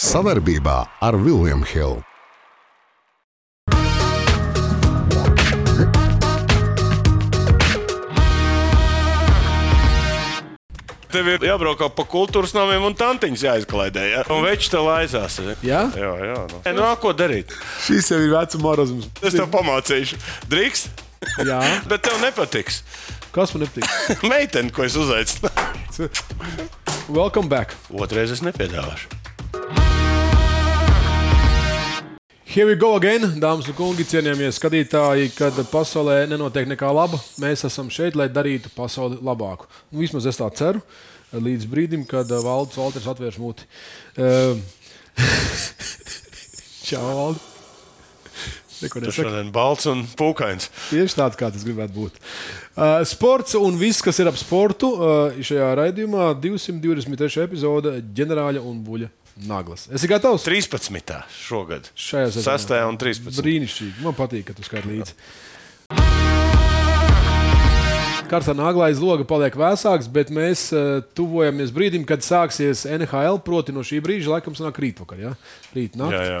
Savarbībā ar Vilniem Hilu. Tev ir jābrauk pa kultūras namiem un tantiņas jāizklaidē. Ja? Un veči te laizās. Ja? Jā? Jā, jā. Nu, Nē, nu a, ko darīt? Šis jau ir vecuma morāzms. Es tev pamācīšu. Drīkst, Jā, bet tev nepatiks. kas man nepatīk? Meitene, ko es uzaicināju, Welcome back. otrreiz es nepiedāvāšu. Here we go again, dāmas un kungi, cienījamie skatītāji, kad pasaulē nenotiek nekā laba. Mēs esam šeit, lai darītu pasauli labāku. Nu, vismaz es tā ceru, līdz brīdim, kad ā, Valdis Valters atvērš muti. Ehm. Čau, Valdi! Neko Tu nesaki. šodien balts un pūkains. Tieši tāds, kā tas gribētu būt. Uh, sports un viss, kas ir ap sportu, uh, šajā raidījumā 223. epizode - ģenerāla un buļļa naglas. Esi gatavs? 13. šogad. Šajā sezonā. 6. un 13. Brīnišķīgi. Man patīk, ka tu skaties līdzi. Karstā nāglā aiz loga paliek vēsāks, bet mēs uh, tuvojamies brīdim, kad sāksies NHL. Proti, no šī brīža, laikam, sanāk rītvakar. Ja? Rīt nakt. Jā, jā.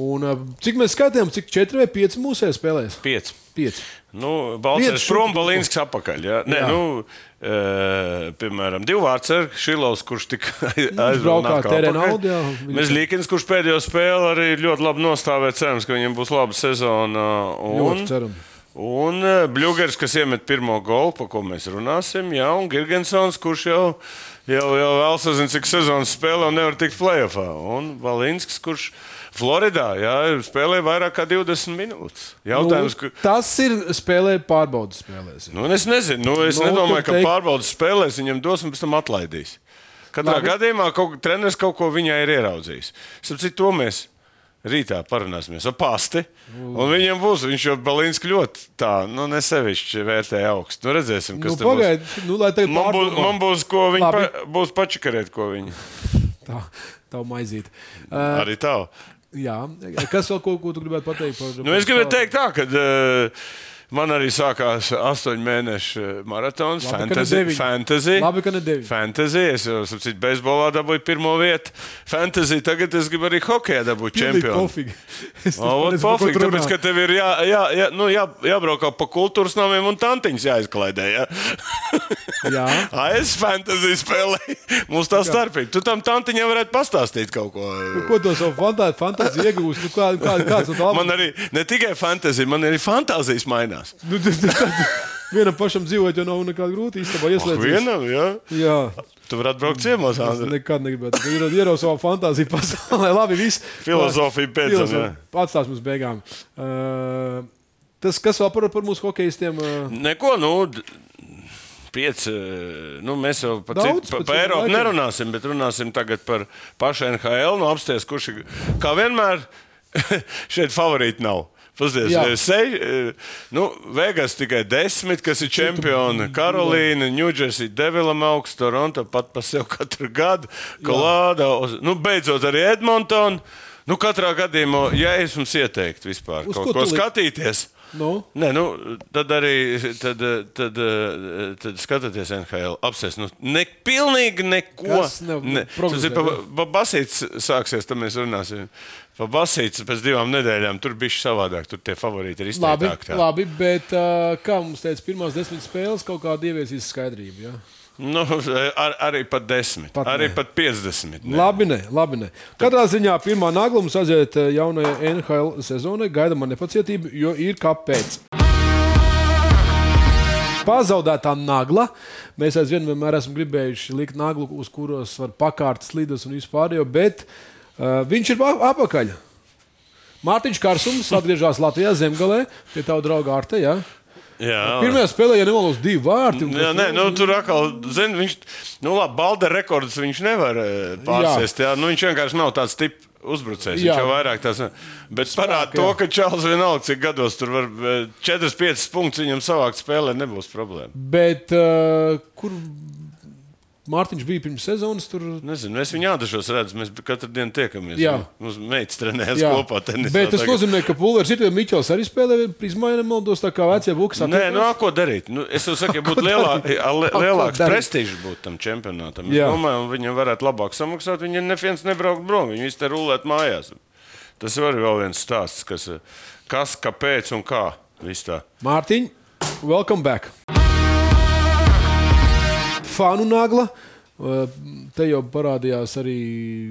Un, uh, cik mēs skatījām, cik 4 vai 5 mūsē spēlēs? 5. 5. Nu, Viens Balsīs šūpis prom, Balīnskis apakaļ. Jā. Nē, Jā. nu, e, piemēram, divu vārdu ar Šilovs, kurš tik braukā, aizbraukā tērē naudu, jā. Mezlīkins, kurš pēdējo spēli arī ļoti labi nostāvē, cerams, ka viņam būs laba sezona. Un, Ļoti ceram. un e, Bļūgers, kas iemet pirmo golu, par ko mēs runāsim, jā, un Girgensons, kurš jau, jau, jau vēl sazina, cik sezonas spēlē un nevar tikt playoffā. Un Balīnskis, kurš Floridā jā, spēlē vairāk kā 20 minūtes. Jautājums, nu, nu, tas ir spēlē pārbaudas spēlēs. Nu, es nezinu, nu, es Nu, nu, nedomāju, tur ka teik- teik... pārbaudas spēlēs viņam dos un pēc tam atlaidīs. Katrā Labi. Labi. gadījumā kaut, treneris kaut ko viņai ir ieraudzījis. Sapratu, to mēs rītā parunāsimies ar pasti. Un viņam būs, viņš jau Balīnskis ļoti tā, nu, nesevišķi vērtēja augstu. Nu, redzēsim, Nu, kas tur būs. Pagaidiet, nu, lai tagad Man būs, pārdomā. man būs, ko viņi Labi. pa, būs pačakarēt, ko viņi tā, tā maizīt. Uh, arī tālu. jā, kas vēl ko, ko tu gribētu pateikt par Nu, es gribēju teikt, tā, ka uh, man arī sākās astoņu mēnešu eh, maratons. Labi, ka ne Fantasy, deviņi. fantasy. Labi, ka ne deviņi. Fantasy. Es eh, jau saprotu, beisbolā dabūju pirmo vietu. Fantasy. Tagad es gribu arī hokeja dabūt čempionu. Pofīgi. Es O, ot, nezinu, par ko pofīgi, tu runā. tāpēc, ka tev ir jā, jā, jā, nu, jā, jābrauk pa kultūras namiem un tantiņas jāizklaidē. Jā. Jā. Ai, es fantāziju spēlēju. Mums tā starpība. Tu tam tantiņam varētu pastāstīt kaut ko. Ko to savu fantā- fantāziju iegūst? Nu, kā, kā, kāds no tā Man arī ne tikai fantāzija, man arī fantāzijas mainās. Nu, tad- tad- tad vienam pašam dzīvot, jo nav nekāda grūti īstenībā ieslēgties. Vienam, jā. Jā, Tu vari atbraukt ciemos, es Andri. nekad negribētu. Ieraudzīt ierau savā fantāzijā pasaulē. Labi, viss. Filozofija pēc tam. jā. Atstās mums beigām. Uh, tas, kas vēl par, par mūsu hokeistiem? Uh, Neko, nu. d- Piec, eh, nu, mēs jau par Daudz, citu- pa, pa pa citu Eiropu laikam. nerunāsim, bet runāsim tagad par pašu NHL. Nu, apsties, kurš ir, kā vienmēr, šeit favorīti nav. Pusdies, Jā. se, eh, nu, Vegas tikai desmit, kas ir čempioni. nu, Karolīna, Ņūdžersija, Devilam augsts, Toronto pat pa sev katru gadu. Kolāda, uz- nu, beidzot arī Edmontona. Nu, katrā gadījumā, ja es jums ieteiktu vispār Uz kaut ko, ko ko tu likt? skatīties. nu, Nē, nu, tad arī tad, tad, tad skatāties NHL. Apsēs, nu, ne, pilnīgi neko. Kas nav- tas prognozē, nu? ir pabasīts, sāksies, tad mēs runāsim. Pabasīts pēc divām nedēļām, tur bija savādāk, tur tie favorīti ir labi, izteiktāki. tā. labi, bet uh, kā mums teica, pirmās desmit spēles kaut kāda ieviesīs skaidrību. Ja? Nu, ar, arī pat desmit, Pat pat arī ne. ne. pat piecdesmit. ne. Labi, nē, labi. Nē. Katrā ziņā pirmā nagla mums aiziet eh, jaunajai NHL sezonai. Gaidām ar nepacietību, jo ir kāpēc. Pazaudētā nagla. Mēs aizvien vienmēr esam gribējuši likt naglu, uz kuros var pakārt slīdus un vispār, jo, bet uh, viņš ir a- apakaļ. Mārtiņš Kārsums atgriežas Latvijā, Zemgalē, pie tava drauga Arta. Ja? Jā, Pirmajā spēlē, ja nemaldos, divi vārti. un- Jā, nē, nu, tur atkal, zini, viņš, nu, labi, balda rekords viņš nevar eh, pārsēst. Jā. Jā. Nu, viņš vienkārši nav tāds tips uzbrucējs. Jā. Viņš jau vairāk tās. eh, Bet parāda to, jā. ka Čāles vienalga, cik gados tur var eh, 4-5 punktus viņam savākt spēlē, nebūs problēma. Bet uh, kur eh, Mārtiņš bija pirms sezonas tur. Nezinu, mēs viņu ādažos redzam, mēs katru dienu tiekamies. nu, Jā. Mums meitas trenējas Jā. kopā tenisā. Bet tas tagad. nozīmē, ka Pulvers ir jau Miķels arī spēlē, izmaiņā nemaldos, tā kā vecie buks. Nē, nu, ā, ko darīt? Nu, es jau saku, ja būtu lielā, li, Ā, ko lielāks darīt? prestižs būtu tam čempionātam. Es Jā. domāju, viņam varētu labāk samaksāt. Viņam neviens nebraukt prom, viņš te rulēt mājās. Tas var būt vēl viens stāsts, kas, kas kāpēc un kā. Viss tā. Mārtiņ, welcome back! Fanu nagla. Uh, Te jau parādījās arī,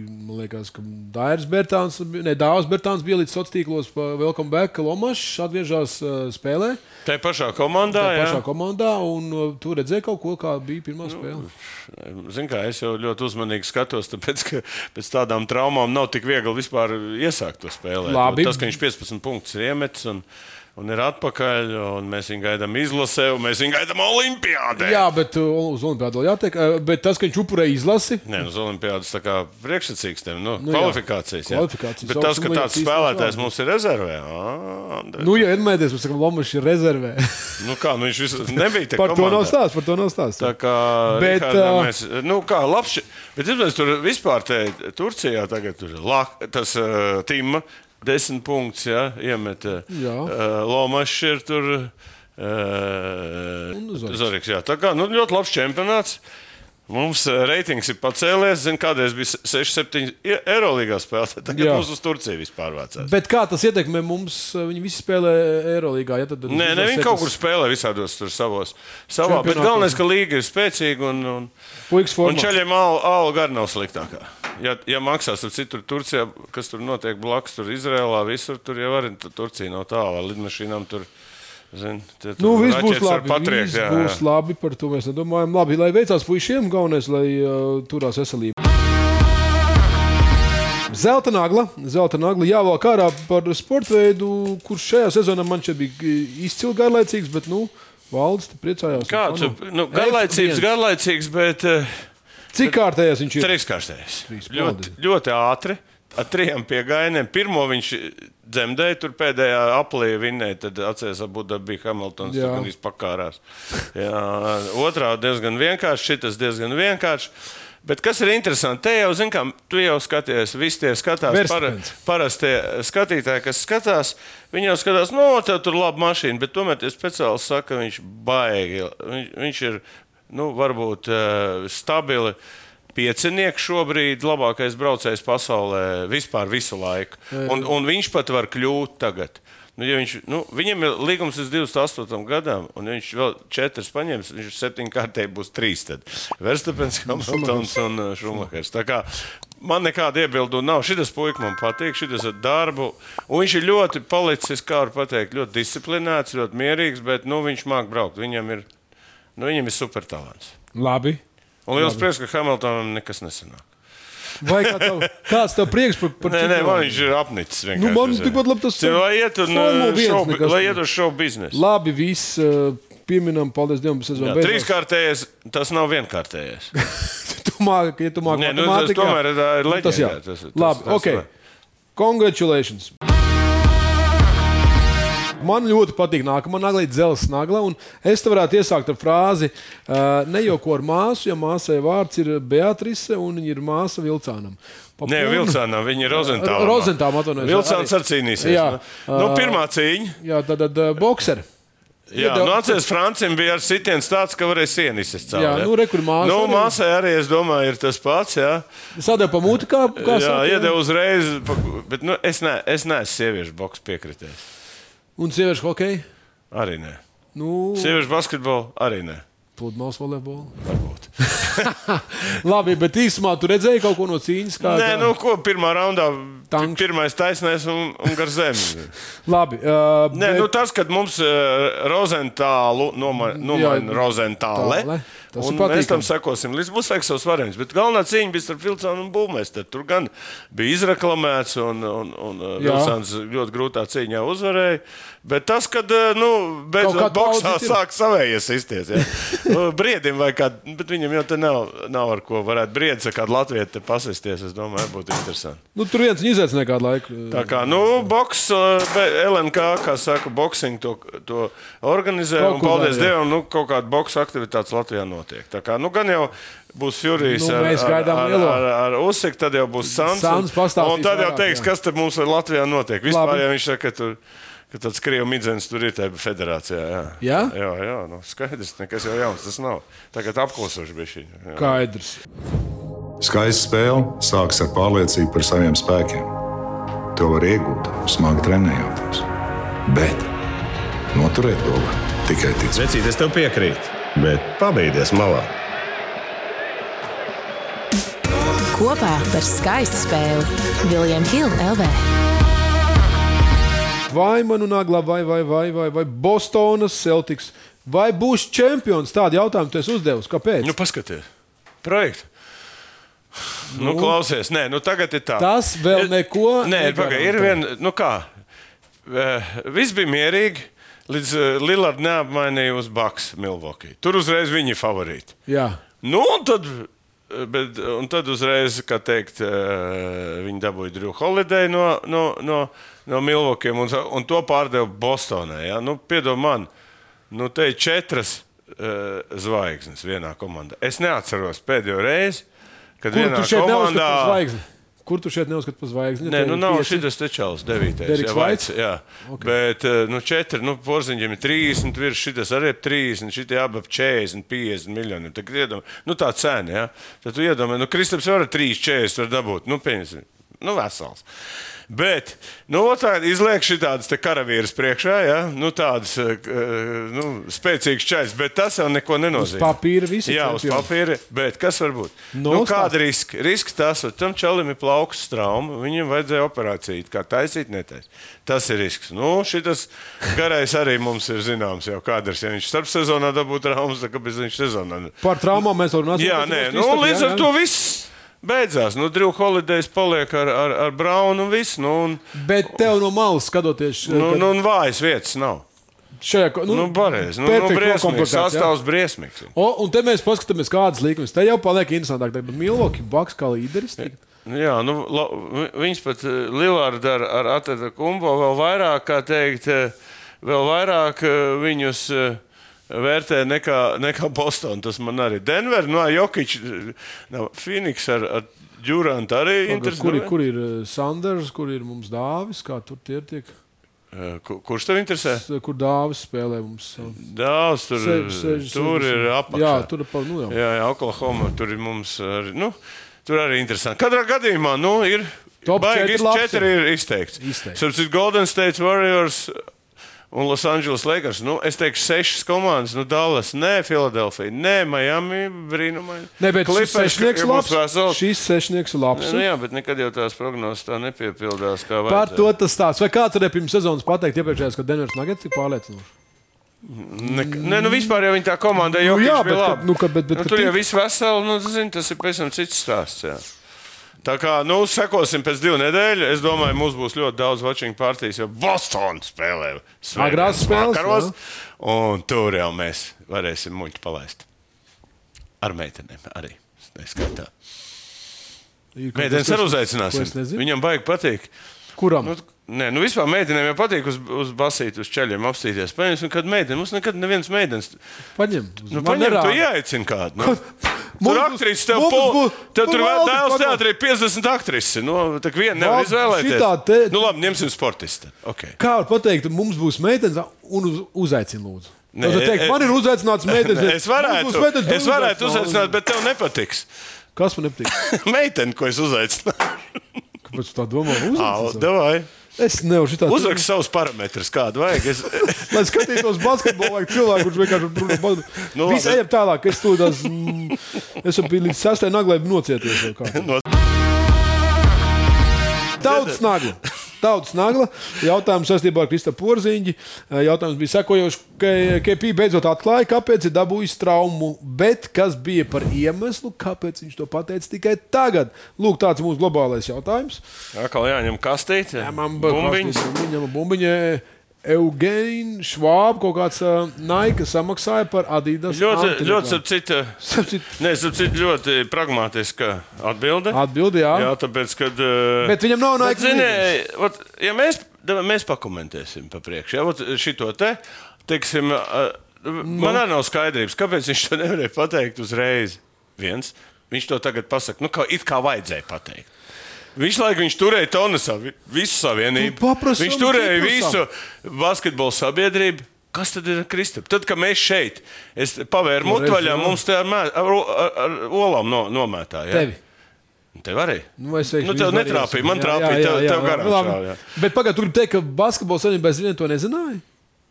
man liekas, ka Dairis Bērtāns, ne Dāvs Bērtāns bija līdz sociālos tīklos, pa Welcome back, ka Lomašs atgriežas uh, spēlē Tā ir pašā komandā. tajā jā. Nu, pašā komandā, un uh, tu redzēji kaut ko, kā bija pirmā spēle. Zin kā, es jau ļoti uzmanīgi skatos, tāpēc, ka pēc tādām traumām nav tik viegli vispār iesākt to spēlēt. Labi. Tas, ka viņš 15 punktus ir iemetis un, un ir atpakaļ, un mēs viņu gaidām izlasē, un mēs viņu gaidām Olimpijādē. Jā, bet uh, uz Olimpādu vēl jātiek, uh, bet tas, ka viņš upurēja izlasi, Nē, nu, uz Olimpijas tā kā priekšsacīks, tam nu, Nu nu, jā. kvalifikācijas. Jā. Kvalifikācijas. Bet tas, ka Augstuma tāds līmenis spēlētājs īstenībā. mums ir rezervē, ā, Andrej. nu, ja vienmēr mēs sakām, Lomašs ir rezervē. nu kā, nu viņš visu, nebija tik par to nav stāsts, par to nav stāsts. Tā kā Bet, uh, bet, Rihardam, ā, mēs, nu, kā, labs, še- bet, zināms, tur vispār te, Turcijā tagad tur ir la, tas uh, Tima desmit punkts, ja, iemet uh, Jā. Lomašs ir tur. Uh, Un Zoriks. Zoriks, jā. Tā kā nu, ļoti labs čempionāts. Mums uh, reitings ir pacēlies. Zinu, kādreiz bija 6-7 eiro līgā spēlēta. E-, Tagad Jā. jā. mums uz Turciju vispār vācās. Bet kā tas ietekmē mums? uh, Viņi visi spēlē Eirolandā. Ja, Nē, tad ne, viņi izlasē kaut tas kur spēlē visādos tur savos. Savā, bet Čempionātos. galvenais, ka līga ir spēcīga un, un puikas Un formā. ceļiem alga arī nav sliktākā. Ja, ja maksās, tad citur Turcijā, kas tur notiek blakus, tur Izrēlā, visur tur jau arī tur Turcija nav tālā lidmašīnām. Tur, zin, tie, tur Nu, viss būs raķetes ar labi. Patriek, viss jā, būs jā. labi, par to mēs nedomājam. Labi, lai veicās puišiem, galvenais, lai uh, turās veselība. Zelta nagla, zelta nagla jāvēl kārā par sporta veidu, kurš šajā sezonā man šeit bija uh, izcili garlaicīgs, bet, nu, valsts priecājās. Kāds Fanu. ir nu, garlaicīgs, F1. garlaicīgs, bet eh, Cik kārtējās viņš ir? trīskāršais. Trīs, Ļoti, paldies. ļoti ātri. Ar trijiem piegainiem. Pirmo viņš dzemdēja, tur pēdējā aplī vinnēja. Tad atcerēsimies, ka bija Hamiltons, Jā. kas gandrīz pakārās. Jā, otrā diezgan vienkārši, šis diezgan vienkārši. Bet kas ir interesanti, te jau, zinām, tu jau skaties, visi tie skatās, para, Verstapens. parastie eh, skatītāji, kas skatās, viņi jau skatās, no tev tur laba mašīna, bet tomēr tie speciāli saka, viņš baigi. Viņš, viņš ir, nu, varbūt eh, stabili. Piecinieks šobrīd ir labākais braucējs pasaulē vispār visu laiku. Un, un viņš pat var kļūt tagad. Nu, ja viņš, nu, viņam ir līgums līdz 28 gadam, un ja viņš vēl četras paņems, viņš septiņkārtēji būs trīs. Tad Verstapens, Nu, Hamiltons un uh, Šumahers. Tā kā Man nekāda iebildu nav. Šis puisis man patīk, šis ir darbu. Un viņš ir ļoti palicis, kā var pateikt, ļoti disciplinēts, ļoti mierīgs, bet nu, viņš māca braukt. Viņam ir, nu, viņam ir super talants. Labi. Un liels prieks, ka Hamiltonam nekas nesanāk. Vai kā tev, kāds tev prieks par, par Nē, cik nē, man labi? viņš ir apnicis. vienkārši. Nu, man tikpat labi tas Cik, Lai iet un, Formula uh, 1 šobi- nekas lai tur. iet uz šovu biznesu. Labi, viss uh, pieminam, paldies Dievam, ka sezona beidzās. Trīskārtējais, tas nav vienkārtējais. Tu māki, ja tu māki Nē, nu, matemātikā, tas tomēr ir, tā ir nu, Tas jā, leģenda, tas- tas- labi, tas- ok. Congratulations! Man ļoti patīk nākamā nagla, dzelzs nagla. un Es te varētu iesākt ar frāzi, uh, ne jau ko ar māsu, jo māsai vārds ir Beatrice un viņa ir māsa Vilcānam. Pa Nē, pilnu- Vilcānam, viņa ir Rozentāla. Rozentālam, atvainojos, Vilcāns arī. ar cīnīsies. Jā, Nu, ā, pirmā cīņa. Jā, tad, tad uh, bokseri. Jā, Iedev- nu, atcerieties, Francijam bija ar sitienu tāds, ka varēja sienis izcelt. Jā, nu, re, kur māsa Nu, arī- māsai arī, es domāju, ir tas pats. Jā, Sadēļ pa mūti, kā, jā, kā jā saka, iedeva uzreiz, pa- bet nu, es, ne, es neesmu sieviešu boks piekritējis. Un sieviešu hokeju. Arī nē. Nu, Sieviešu basketbolu arī nē. pludmales volejbolu. Varbūt. Labi, bet īsumā tu redzēji kaut ko no cīņas. Kā, Nē, kā- nu, ko pirmā raundā? Tanks. Pirmais taisnēs un, un gar zemi. Labi, uh, Nē, bet- nu, tas, kad mums uh, Rozentālu noma- nomaina Jā, tāle. Rozentāle. Tas un ir patīkami. Mēs tam sekosim. Līdz būs vajag savs variants. Bet galvenā cīņa bija starp Filcānu un Bulmēsteri. Tur gan bija izreklamēts, un, un, un uh, Jā. Filcāns ļoti grūtā cīņā uzvarēja. Bet tas, kad uh, nu, Kaut beidzot kā boxā pauzīti ir. sāk savējies izties. jā. Nu, Briedim vai kādam, bet viņam jau te nav, nav ar ko varētu briedzi, ar kādu latviešu te pasisties. Es domāju, būtu interesanti. nu, tur viens viņu izaicināja kādu laiku. Tā kā, nu, boks, eh, be- LNK, kā saka, boxing to, to organizē. Kaut Un, kur paldies vēl, jā. Dievam, nu, kaut kāda boxa aktivitāte Latvijā notiek. nenotiek. Tā kā, nu, gan jau būs Jurijs Nu, ar, mēs ar, gaidām ar, lielo. ar, ar Usiku, tad jau būs Sans. Sans pastāstīs un tad jau vairāk, teiks, jā. kas te mums Latvijā notiek. Labi. Vispār, ja viņš saka, ka tur ka tāds krievu midzens tur ir tajā federācijā. Jā, Jā? jā, jā nu, skaidrs, nekas jau jauns tas nav. Tagad apklusoši bija šī. Skaidrs. Skaista spēle sākas ar pārliecību par saviem spēkiem. To var iegūt, smagi trenējot. Bet noturēt to var tikai ticēt. Vecīt, es tev piekrītu, bet pabeigties malā. Kopā par skaistu spēli Viljams Hilde LV. Vai man un Aglā, vai, vai, vai, vai, vai Bostonas Celtics, vai būs čempions? Tādu jautājumu tu esi uzdevis. Kāpēc? Nu, paskaties, projekts. Nu, nu, klausies, nē, nu tagad ir tā. Tas vēl neko Nē, negarantē. pagaidi, ir viena, nu kā. eh, Viss bija mierīgi, līdz eh, Lillard neapmainīja uz Baks Milvoki. Tur uzreiz viņi favorīti. Jā. Nu, un tad, eh, bet, un tad uzreiz, kā teikt, eh, viņi dabūja Drew Holiday no, no, no, no Milvokiem un, un to pārdeva Bostonai. Ja? Nu, piedod man, nu, te ir četras eh, zvaigznes vienā komandā. Es neatceros pēdējo reizi, kad Kur vienā tu šeit neuzskati komandā. par zvaigzni? Kur tu šeit neuzskati par zvaigzni? Nē, Tev nu ir nav pieci. šis te čels, 9. Deriks Vaits? Jā, okay. bet eh, nu, 4, nu, porziņiem ir 30, virs šis arī ir 30, šitie abi ap 40, 50 miljoni. Tad iedomā, nu tā cena, jā. Tad tu iedomā, nu Kristaps var 3, 40 var dabūt, nu pieņemsim, nu vesels. Bet, nu, tā izliek šādas karavīras priekšā, ja? nu, tādas eh, k- eh, nu, spēcīgas čaļas, bet tas jau neko nenozīmē. papīra visi Jā, uz čempioni. papīra, bet kas var būt? Nu, Nu, nu, stāsti. kāda riska? Risks tas, ka tam čelim ir plaukas trauma, viņam vajadzēja operāciju. it Kā taisīt, netaisīt. Tas ir risks. Nu, šis garais arī mums ir zināms, jau kādreiz. Ja viņš starp sezonā dabūtu traumas, tad kāpēc viņš sezonā? Par traumām mēs varam runāt. Jā, nē, nu, līdz ar to viss. Beidzās, nu, Drew Holidays paliek ar, ar, ar Braunu un viss. Nu, un, Bet tev no malas skatoties, nu, kad nu, un vājas vietas nav. šajā ko- Nu, pareizi. Nu, nu, perfekti briesmīgs. nokomplektēts, jā. Sastāvs briesmīgs. O, un te mēs paskatāmies, kādas līnijas. Te jau paliek interesantāk. Tad Milvoki Baks kā līderis. tagad. Jā, nu, la, vi- viņas pat Lilārdu ar, ar Atēta kumbo vēl vairāk, kā teikt, eh, vēl vairāk eh, viņus eh, vērtē nekā, nekā Boston. Tas man arī Denver, nu, no Jokic, no eh, Phoenix ar, ar Durantu arī Kur, kur, ir- interesē. kur ir eh, Sanders, kur ir mums dāvis, kā tur tie tiek? Eh, ku- Kurš tev interesē? Kur dāvis spēlē mums? eh, Daudz, tur, se- sež- tur ir sež- apakšā. Jā, tur ir pa, nu, jau. Jā, jā, Oklahoma. Tur ir mums arī. Nu, Tur arī interesanti. Katrā gadījumā nu, ir. Top četri baigi, iz- labs četri ir. ir izteikts. Izteikts. Starp citu, Golden State Warriors un Los Angeles Lakers. Nu, es teikšu, sešas komandas. Nu, Dallas, ne Filadelfija, ne Miami. Brīnumaini. Nē, bet šis Clippers, sešnieks ka- labs. mums vesels. Šis sešnieks labs. Nu, jā, bet nekad jau tās prognozes tā nepiepildās. kā Par vajadzētu. to tas stāsts. Vai kāds varēja pirms sezonas pateikt, iepriekšējās, ka Denveras Nuggets ir pārliecinoši? Nē, nē, nu vispār jau viņa tā komanda jau Nu ir. jā, Jā, bet, bet kad- labi. nu, kad- bet- bet nu, kad tur jau tik- viss vesels, nu, zini, tas ir pavisam cits stāsts. Jā. Tā kā, nu, sekosim pēc divu nedēļu. Es domāju, mums būs ļoti daudz watching partijas, jo Bostonā spēlē Agrās svētdienas spēles, vakaros, jā. Un tur jau mēs varēsim muļķi palaist. Ar meitenēm arī. Neskaitā. Ir kaut Mēģinājums arī kas, kas- ko uzaicināsim. es nezinu. Viņam baigi patīk. Kuram? Nu, nē, nu vispār meitenēm jau patīk uz, uz basīt, uz ceļiem apstīties. Paņemsim, kad meitene. Mums nekad neviens meitenes. Paņem. Nu, Man paņem, nerāda. tu jāicina kādu. Nu. Mums Tur būs- aktrīs tev mums pūlī. būs- Tev nu, tur vēl valdi tēls pagal- teātrī 50 aktrises. Nu, tā kā viena nevar Valdi, šitā izvēlēties. te- Nu, labi, ņemsim sportistu. Okay. Kā var pateikt, mums būs meitenes un uz, uzaicina lūdzu? Nē, Nē, tad teikt, e- man ir uzaicināts meitenes. Es varētu, Mums būs meitenes, es tu varētu uzaicināji. uzaicināt, bet tev nepatiks. Kas man nepatīk? Meitene, ko es uzaicināju, Kāpēc tu tā domā? Au, Uzaicināt? davai. Es nevaru šitā. uzrakst savus parametrus, kādu vajag. Es, Lai skatītos basketbolu, vajag cilvēku, kurš vienkārši brūna badu. Nu, Nu, Viss labi. ejam tālāk. Es to tās, mm, esmu bijis līdz sastai naglai nocieties. jau kā. No- Tautas nagla. Tautas nagla. Jautājums saistībā ar Krista Porziņģi. Eh, Jautājums bija sekojošs, ka Kepija beidzot atklāja, kāpēc ir dabūjis traumu, bet kas bija par iemeslu, kāpēc viņš to pateica tikai tagad. Lūk, tāds mūsu globālais jautājums. Atkal jāņem kastīte. Bumbiņas. Viņam bumbiņa Eugēna Švāba kaut kāds uh, naika samaksāja par Adidas. Ļoti, antreklāmu. ļoti, starp citu, Starp citu, nē, starp citu, ļoti pragmatiska atbilde. Atbildi, jā. Jā, tāpēc, kad. eh, Bet viņam nav Bet, Nike zini, līnijas. vat, ja mēs, da- mēs pakomentēsim pa priekšu. Ja, vat šito te, teiksim, ā, Nu. Man arī nav skaidrības, kāpēc viņš to nevarēja pateikt uzreiz. Viens, viņš to tagad pasakā, nu, kā it kā vajadzēja pateikt. Visu laiku viņš turēja tonusā vi- visu savienību. Tu paprasam, Viņš turēja visu ciprasam. basketbola sabiedrību. Kas tad ir Kristap? Tad, kad mēs šeit, es pavēru Nu, redz, mutvaļā, jā. mums te ar, mē- ar, o- ar, ar olām no, nomētā. jā. Tevi. Un Tev arī. Nu, es teikšu, Nu, tev vispār netrāpīja, jāsaka. man Jā, trāpīja, jā, tev- jā, tev jā. garām Labi. šāva, jā. Bet pagaidiet, tur teikt, ka basketbols arī bez viena to nezināja.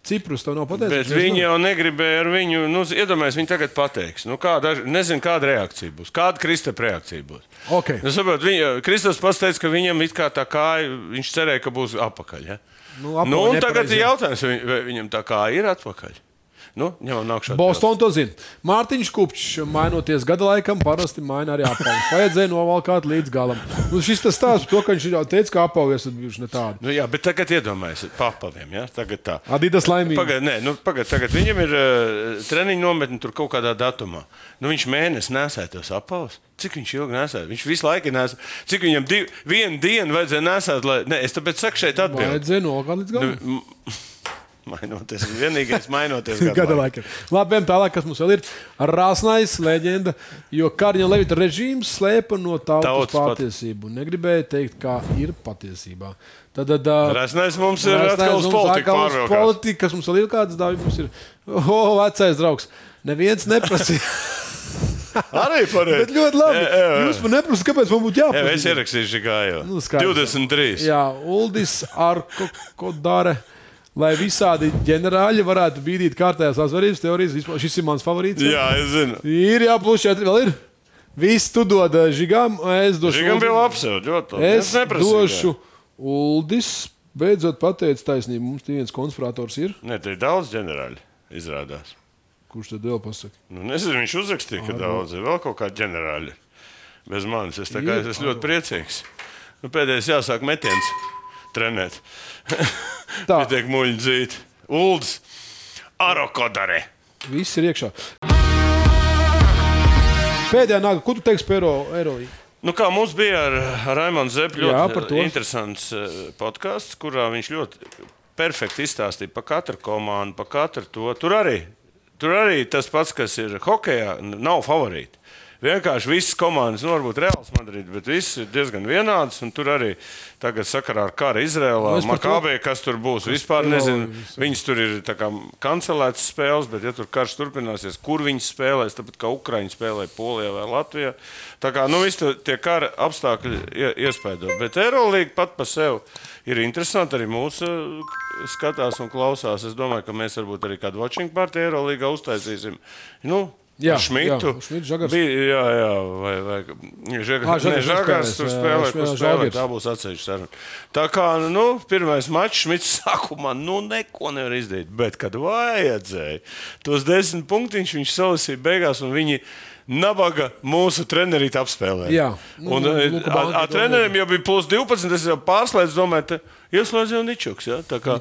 Ciprus to nav Bet pateicis. viņi jau negribēja ar viņu, nu, iedomājieties, viņi tagad pateiks. Nu, kāda, nezinu, kāda reakcija būs. Kāda Kristapa reakcija būs? Okay. Nu, saprot, viņa, Kristaps pateica, ka viņam it kā tā kā viņš cerēja, ka būs apakaļ. Ja? Nu, apakaļ nu, un nepareizi, tagad ir jā. jautājums, vai vai viņam tā kā ir atpakaļ. Nu, ņemam, nākšā. Bostonā to zina. Mārtiņš Kupčs, mainoties gada laikam, parasti maina arī apavu. Vajadzēja novalkāt līdz galam. Nu, šis tas stāsts par to, ka viņš ir jau teicis, ka apavies ir bijuši ne tādi. Nu, jā, bet tagad iedomājieties, papaviem. Ja? Tagad tā. Adidas laimīgi. Pagaidiet, nē, nu, pagaid, tagad viņam ir uh, treniņa nometne tur kaut kādā datumā. Nu, viņš mēnesi nesēja tos apavus. Cik viņš ilgi nesēja? Viņš visu laiku nesēja. Cik viņam div, vienu dienu vajadzēja nesēt, lai. Nē, es tāpēc saku šeit atbildēju. Vajadzēja novalkāt līdz galam. Mainoties, vienīgais mainoties Gada gada laikā. laikam. Labi, ejam tālāk, kas mums vēl ir. Rāsnais leģenda, jo Karņa Levita režīms slēpa no tautas Tautas pat- patiesību. un Negribēja teikt, kā ir patiesībā. Tad, tad, ā, Rasnēs mums ir Vairs atkal neesmu uz mums politiku atkal uz pārvilkās. politiku, kas mums vēl ir kāds dāvis. Mums ir, o, oh, vecais draugs, neviens neprasīja. Arī pareizi. Bet ļoti labi. Jā, jā, jā. Jūs man neprasāt, kāpēc man būtu Jā, es jāprasa. ierakstīju šī gājā. Nu, skaidrs. 23. Jā, Uldis ar ko dara. Lai visādi ģenerāļi varētu bīdīt kārtējās azarības teorijas, vispār šis ir mans favorīts. Jā, es zinu. Ir jāplūš četri, vēl ir. Viss tu dod eh, žigam, es došu. Žigam bija Uldim. labs, jau ļoti labi. Es neprasīju, jā. došu Uldis. Beidzot pateicis taisnību, mums tie viens konspirators ir. Nē, te ir daudz ģenerāļu, izrādās. Kurš tad vēl pasaka? Nu, nezinu, viņš uzrakstīja, ka daudz ir vēl kaut kādi ģenerāļi. Bez manis es, tā kā, Ir, es esmu ļoti priecīgs. Nu, pēdējais jāsāk metiens, trenēt. Tā. Pietiek muļķi dzīt. Ulds, arokodare. Viss ir iekšā. Pēdējā nāga, ko tu teiksi par eiro, eiro? Nu, kā mums bija ar ar Raimonu Zepļu, Jā, ļoti par to. eh, interesants eh, podkāsts, kurā viņš ļoti perfekti izstāstīja par katru komandu, par katru to. Tur arī, tur arī tas pats, kas ir hokeja, n- nav favorīti. Vienkārši visas komandas, nu, varbūt Reāls Madrid, bet visas ir diezgan vienādas. un Tur arī tagad sakarā ar kara Izrēlā, Nu, no, es par to- Makābē, kas tur būs. Vispār spēlē nezinu, visu. viņas tur ir tā kā kancelētas spēles, bet, ja tur karš turpināsies, kur viņas spēlēs, tāpat kā Ukraiņa spēlē Polijā vai Latvijā. Tā kā nu, visi tie kara apstākļi ie- iespēdo. Bet Eirolandes pat par sevi ir interesanti arī mūsu eh, skatās un klausās. Es domāju, ka mēs varbūt arī kādu watching party Eirolandā uztaisīsim. Nu, Jā, ar Šmitu. jā, Šmits, Žagars. Bija, jā, jā, vai, vai Žagars- Ah, Žagars Nē, Žagars nespēlēs, tur jā, spēlē, jā, kur Žagars. spēlē. Tā būs atsevišķa saruna. Tā kā nu, pirmais mačs Šmits sākumā nu, neko nevar izdarīt, bet kad vajadzēja, tos desmit punktiņus viņš salasīja beigās. un viņi Nabaga mūsu trenerīt apspēlēja. Jā. nu, un Nu, eh, Luka Banka a- a- to trenerim jau bija plus 12. Es jau pārslēdzu, domāju, te ieslēdz jau Ničuks. Ja? Tā kā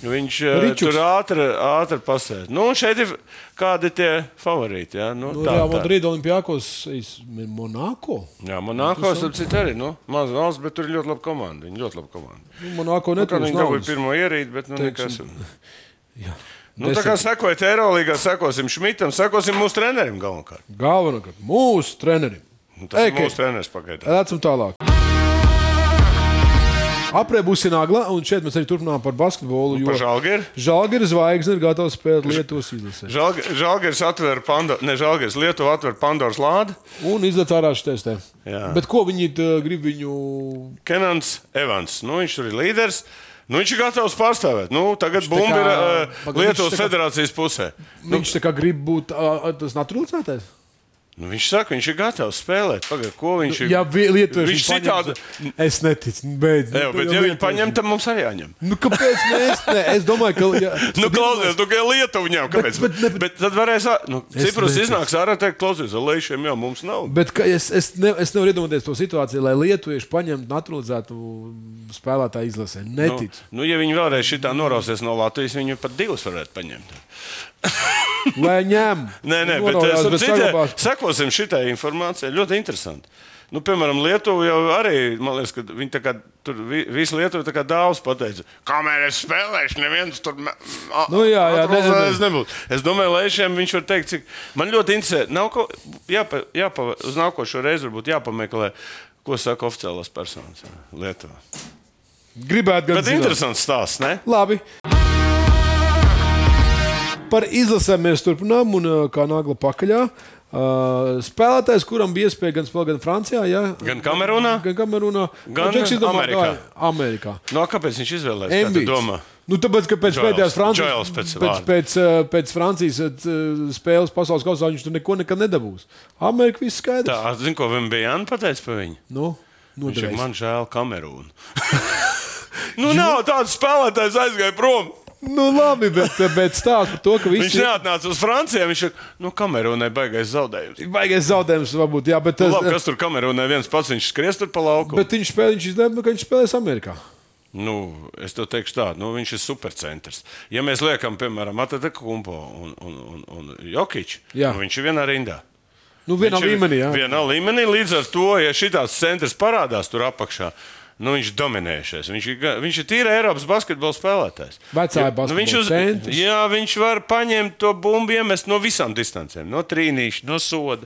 Viņš eh, Ričuks. tur ātri, ātri pasēž. Nu, un šeit ir kādi tie favorīti. Ja? Nu, Nu, tā, Real tā. Madrid Olimpiakos, es- Monako. Jā, Monako apcīt arī. Nu, Mazs valsts, bet tur ir ļoti laba komanda. Viņa ļoti laba komanda. Nu, Monako Nu, kā netrūkst viņi dabūja naudas. pirmo ierīci, bet nu, nekas. Teiksim, Nu, tā kā sekojiet Eirolandā, sekosim Šmitam, sekosim mūsu trenerim galvenokārt. Galvenokārt mūsu trenerim. Nu, Tas Ej, ir ka- mūsu treneris pagaidām. Redzam tālāk. Aprē būs Nāgla, un šeit mēs arī turpinām par basketbolu. Nu, par Žalgiri? Žalgiri zvaigzne ir gatava spēlēt Lietuvas izlasē. Žēlgājs atver Pandoras, ne Žēlgājs, Lietuva atver Pandoras lādi. Un izlaiž ārā šī testē. Jā. Bet ko viņi tā, grib viņu? Kenans Evans, nu, viņš tur ir līderis. Nu, viņš ir gatavs pārstāvēt. Nu, tagad tā bumba ir kā- uh, pagaid, viņš Lietuvas tā kā- federācijas pusē. Nu, viņš tā kā grib būt ā, ā, tas naturalizētais. Nu, viņš saka, viņš ir gatavs spēlēt. Pagaid, ko viņš ir? Ja Lietuva viņš citādi. Es neticu, beidz. Jā, bet ja viņi paņem, tad mums arī jāņem. Nu, kāpēc mēs? Ne? Es domāju, ka. Ja, Nu, klausies, nu, kā Lietuva ņem, kāpēc? Bet, bet- bet, ne- bet, bet tad varēs, ā- nu, Es Ciprus neticu. iznāks ārā, teikt, klausies, ar lēšiem jau mums nav. Bet ka, es, es, ne, es nevaru iedomāties to situāciju, lai lietuvieši paņemtu naturalizētu spēlētāju izlasē. Nu, Neticu. nu, ja viņi vēlreiz šitā norausies no Latvijas, viņi pat divus varētu paņemt. Lai ņem. Nē, nē, bet Noraujās, es bet eh, citē, saglabās. sekosim šitai informācijai. Ļoti interesanti. Nu, piemēram, Lietuva jau arī, man liekas, ka viņi tā kā tur vi- visi Lietuvi tā kā dāvs pateica, kamēr es spēlēšu, neviens tur me- a- Nu, jā, jā, ne, ne, ne. atrunājies nebūs. Es domāju, lai šiem viņš var teikt, cik man ļoti interesē. Nav ko, jāpa, jāpa, uz nākošo reizi varbūt jāpameklē, ko saka oficiālās personas jā, Lietuvā. Gribētu gan Bet interesants stāsts, ne? Labi. Par izlasēm mēs turpinām, un ā, kā nagla pakaļā. Uh, spēlētājs, kuram bija iespēja gan spēlēt, gan Francijā, ja? Gan Kamerunā? gan, Kamerunā, Gan Džeks izdomāja, Amerikā. kā- Amerikā. No, Nu, kāpēc viņš izvēlējās? Kā tu Embiids. domā? Nu, tāpēc, ka pēc Joels. pēdējās Francijas, Joels pēc pēc, vārda. pēc, ā, pēc Francijas ā, spēles pasaules kausā viņš tur neko nekad nedabūs. Amerika viss skaidrs. Tā, zinu, ko viņam bija Anna pateica par viņu. Nu, Viņš ir noderēs. man žēl Kamerūnu. nu, nav tāds spēlētājs aizgāja prom. Nu, labi, bet, bet stāsts par to, ka Viņš viņš ir neatnāca uz Franciju. Viņš ir, nu, Kamerūnai baigais zaudējums. baigais zaudējums, varbūt, jā, bet Nu, tas, eh, labi, kas tur Kamerūnai viens pats viņš skries tur pa lauku? Bet... Bet viņš spēlēja, viņš izlēma, ka viņš spēlēs Amerikā. Nu, es to teikšu tā, nu, viņš ir supercentrs. Ja mēs liekam, piemēram, Atletiku kumpo un, un, un, un Jokiču, Jā. nu, viņš ir vienā rindā. Nu, vienā Viņš ir līmenī, jā. Vienā līmenī līdz ar to, ja šis centrs parādās tur apakšā. Nu, viņš ir dominējušies. Viņš ir, ga- viņš ir tīri Eiropas basketbola spēlētājs. Vecā Ja- basketbola viņš centrs. jā, viņš var paņemt to bumbu, iemest no visām distancēm, no trīnīša, no soda,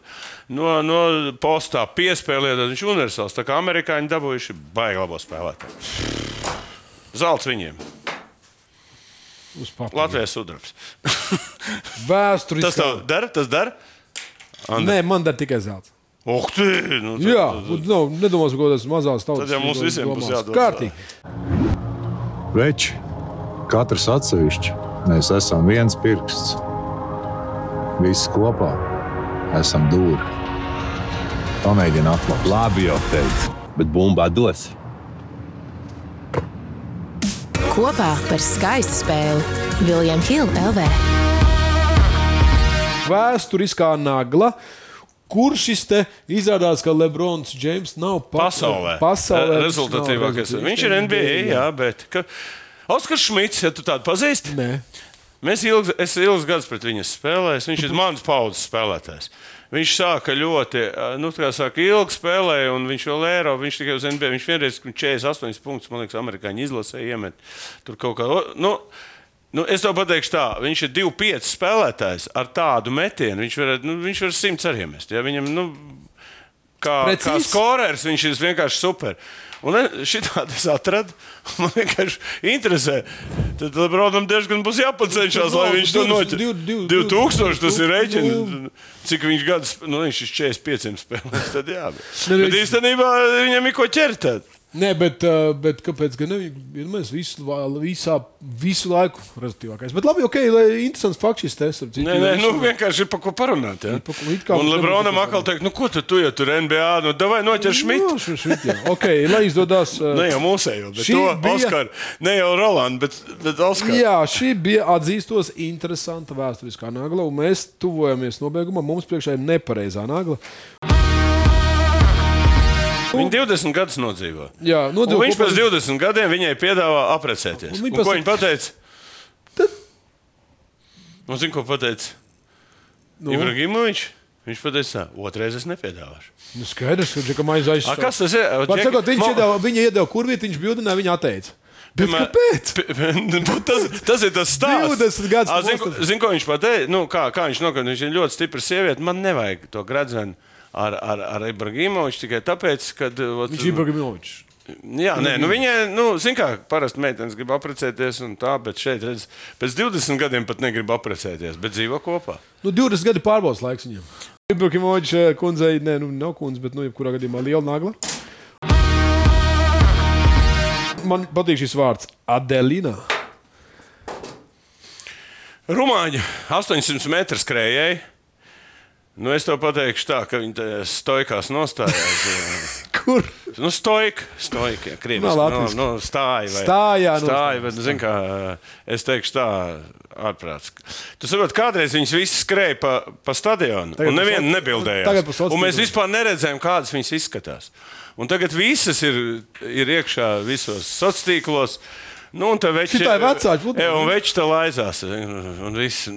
no, no postā, piespēlēt. Viņš ir universāls. Tā kā amerikāņi dabūjuši baigi labo spēlētāju. Zelts viņiem, Uz papīra. Latvijas sudrabs. Vēsturiski. Tas tev dara, tas dara. Nē, man der tikai zelta. Ugh, tu! Nu, tad- Jā, tad- un nav, nedomās, ka tas mazās tautas. Tad jau mums visiem būs jādod Kārtīgi. Veči, katrs atsevišķi, mēs esam viens pirksts. Visi kopā esam dūri. Pamēģini atklāt. Labi jau teicu, bet bumbā dos. Kopā par skaistu spēli Viljams Hilde LV. Vēsturiskā nagla. Kur šis te izrādās, ka Lebrons Džeims nav pa- Pasaulē. Pasaulē Re- viņš nav rezultatīvākais. rezultatīvs. Viņš ir NBA. Jā, bet, ka... Oskars Šmits, ja tu tādu pazīsti, Nē. mēs ilgs, es ilgus gadus pret viņu spēlēju. Viņš ir mans paudzes spēlētājs. Viņš sāka ļoti, eh, nu, tā kā saka, ilgi spēlēja, un viņš vēl eiro, viņš tikai uz NBA. Viņš vienreiz 48 punktus, man liekas, amerikāņu izlasē iemet. Tur kaut kā, o, nu, nu, es to pateikšu tā, viņš ir 2-5 spēlētājs ar tādu metienu. Viņš var, nu, viņš var 100 arī iemest. Ja? Viņam, nu, kā, kā Precīzi. skorers. Viņš ir vienkārši super. Un eh, šī tāda es atradu. Man vienkārši interesē. Tad Lebronam diezgan būs jāpacenšas, lai viņš to noķer. 2000 tas ir rēķins. Cik viņš gadus, nu viņš ir 45 spēlēs, tad jā. Bet, Nu, bet īstenībā viņam ir ko ķert. tad. Nē, bet, uh, bet kāpēc gan ne? Vienmēr visu, vā- visā, visu laiku rezultātīvākais. Bet labi, ok, lai interesants fakts šis te. starp citu, Nē, nē, nu jo es- vienkārši ir par ko parunāt. Ja? Ir pa ko- it kā Un mums Lebronam nebūtu par ko atkal teikt, nu ko tu, tu ja tur NBA, nu davai noķer šmit. Jā, šo šmit, jā. Ok, lai izdodas. uh, Ne Nu, jau mūsējo, bet Šī to bija- Oskaru. Ne jau Rolandu, bet, bet Oskaru. Jā, šī bija atzīstos interesanta vēsturiskā nagla, un mēs tuvojamies nobeigumam. Mums priekšā ir nepareizā nagla. Viņa 20 gadus nodzīvo. Jā, Un nodzīvo viņš kopā- pēc 20 gadiem viņai piedāvā aprecēties. Un Un viņa ko pasaka- viņa pateica? Tad- Un zinu, ko pateica Nu. nu. Ibrahimovičs. Viņš pateica, tā, otrreiz es nepiedāvāšu. Nu, skaidrs, ka Džeka maize A, aizsāka. kas tas ir? Var Džek- sakot, viņš Ma- iedeva, viņa iedeva kurvīti, viņš bildināja, viņa atteica. Bet Piemēr- kāpēc? P- p- nu, tas, tas ir tas stāsts. 20 gadus Ā, Zinu, postas. ko- zinu, ko viņš pateica. Nu, kā, kā viņš nokrita? Viņš ir ļoti stiprs sieviete. Man nevajag to gradzenu ar, ar, ar Ibrahimoviču tikai tāpēc, ka. Viņš ir Ibrahimovičs. Jā, nē, nu viņai, nu, zina, kā parasti meitenes grib apprecēties un tā, bet šeit, redz, pēc 20 gadiem pat negrib apprecēties, bet dzīvo kopā. Nu, 20 gadi pārbaudas laiks viņam. Ibrahimovičs kundzei, nē, nu, nav kundze, bet, nu, jebkurā gadījumā liela nagla. Man patīk šis vārds - Adelina. Rumāņa 800 metru skrējēji. Nu, es to pateikšu tā, ka viņi tajā stoikās nostājās. Kur? jā. nu, stoika, stoika, jā, krievis. Nav latviski. nu, nu, stāja. Vai, Stājā Stāja, bet, zin kā, es teikšu tā, ārprāts. Tu saproti, kādreiz viņas visas skrēja pa, pa stadionu, Tagad un pa nevienu soc- tagad pa nebildējās. soc- Un mēs vispār neredzējām, kādas viņas izskatās. Un tagad visas ir, ir iekšā visos sociālos tīklos. Nu, un tā veči, Šitai vecāki futbolisti. Jā, un veči tā laizās. Un viss.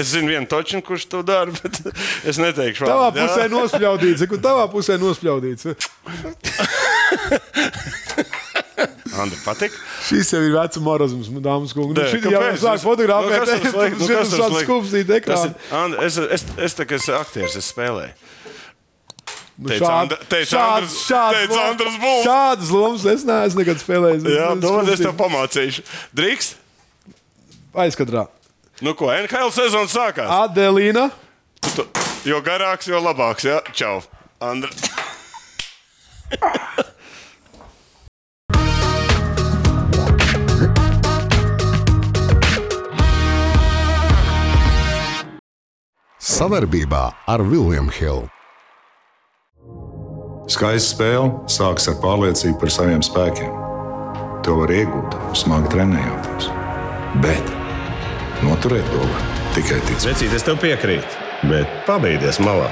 Es zinu vienu točinu, kurš to dara, bet es neteikšu. Tavā vārdu, jā. pusē nospļaudīts, kur tavā pusē nospļaudīts. Andri, patīk. Šis jau ir vecs morāzms, dāmas un kungi. Nu, Nē, šī jau kāpēc? sāk fotografēt, Nu, kas tur slikti? Nu, šis kas tur sāk slikti? skūpstīt Tas ekrānu. ir- Andri, Es, es, es tā kā esmu aktieris, es spēlēju. Nu, Teica šād- Andr- teica šāds- Andrs- šāds teica loms- Andrs Bulls. Šādas lomas es neesmu nekad spēlējis. Jā, domāju, es Skūpstīt. tev pamācīšu. Drīkst? Aizkadrā. Nu, ko NHL sezona Ah. sākās? Adelīna. Tu, jo garāks, jo labāks. Jā, čau. Andri. Savarbībā ar William Hill. Skaista spēle sākas ar pārliecību par saviem spēkiem. To var iegūt, smagi trenējoties. Bet noturēt to var tikai ticēt. Vecīt, es tev piekrītu, bet pabeigties malā.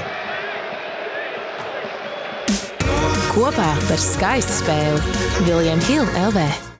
Kopā par skaistu spēli Viljams Hilde LV.